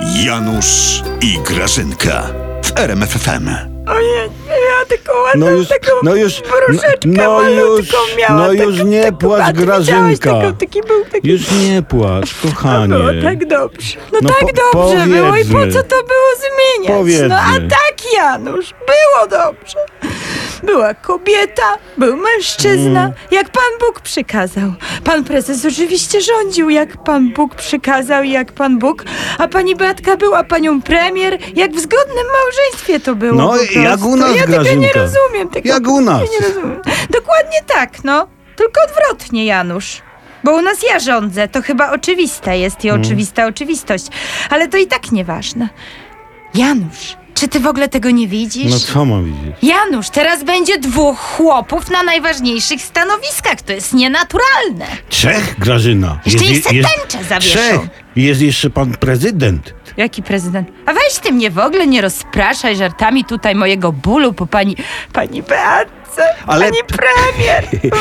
Janusz i Grażynka w RMFFM. Ojej, ja tylko ładną No już, taką no już, wróżeczkę no już, malutką miałam. no już taką- nie taką- płacz, a ty widziałeś Grażynka. Taką, taki był taki... Już nie płacz, No kochanie. było tak dobrze. No, No tak po- dobrze było i po powiedzmy. co to było zmieniać? Powiedzmy. No a tak Janusz, było dobrze. Była kobieta, był mężczyzna, Mm. jak Pan Bóg przykazał. Pan prezes oczywiście rządził, jak Pan Bóg przykazał i jak Pan Bóg, a Pani Beatka była Panią premier, jak w zgodnym małżeństwie to było. No, po prostu. jak u nas, Ja tego nie Grażynka. rozumiem. Tego Jak u nas. nie rozumiem. Dokładnie tak, no. Tylko odwrotnie, Janusz. Bo u nas ja rządzę, to chyba oczywiste jest Mm. i oczywista oczywistość. Ale to i tak nieważne. Janusz, czy ty w ogóle tego nie widzisz? No co mam widzieć? Janusz, teraz będzie dwóch chłopów na najważniejszych stanowiskach. To jest nienaturalne. Trzech, Grażyna. Jeszcze Jest- jeszcze jest- tęczę zawieszą. Trzech. Jest jeszcze pan prezydent. Jaki prezydent? A weź ty mnie w ogóle nie rozpraszaj żartami tutaj mojego bólu po pani... Pani Beatce, Ale- pani premier, wróć.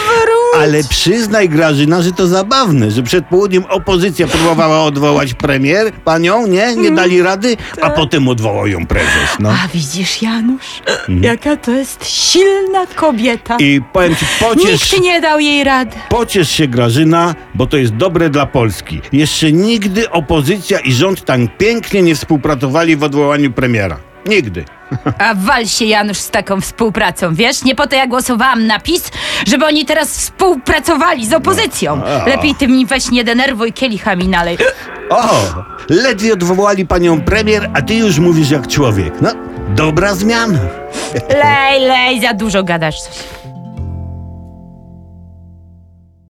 Ale przyznaj, Grażyna, że to zabawne, że przed południem opozycja próbowała odwołać premier, panią, nie? Nie dali rady, a potem odwołał ją prezes, no. Mm. Tak. A widzisz, Janusz, jaka to jest silna kobieta. I powiem ci, pociesz... Nikt nie dał jej rady. Pociesz się Grażyna, bo to jest dobre dla Polski. Jeszcze nigdy opozycja i rząd tak pięknie nie współpracowali w odwołaniu premiera. Nigdy. A wal się, Janusz, z taką współpracą, wiesz? Nie po to ja głosowałam na PiS, żeby oni teraz współpracowali z opozycją. a. Lepiej ty mnie weź nie denerwuj, kielichami nalej. O! Ledwie odwołali panią premier, a ty już mówisz jak człowiek. No, dobra zmiana. Lej, lej, za dużo gadasz coś.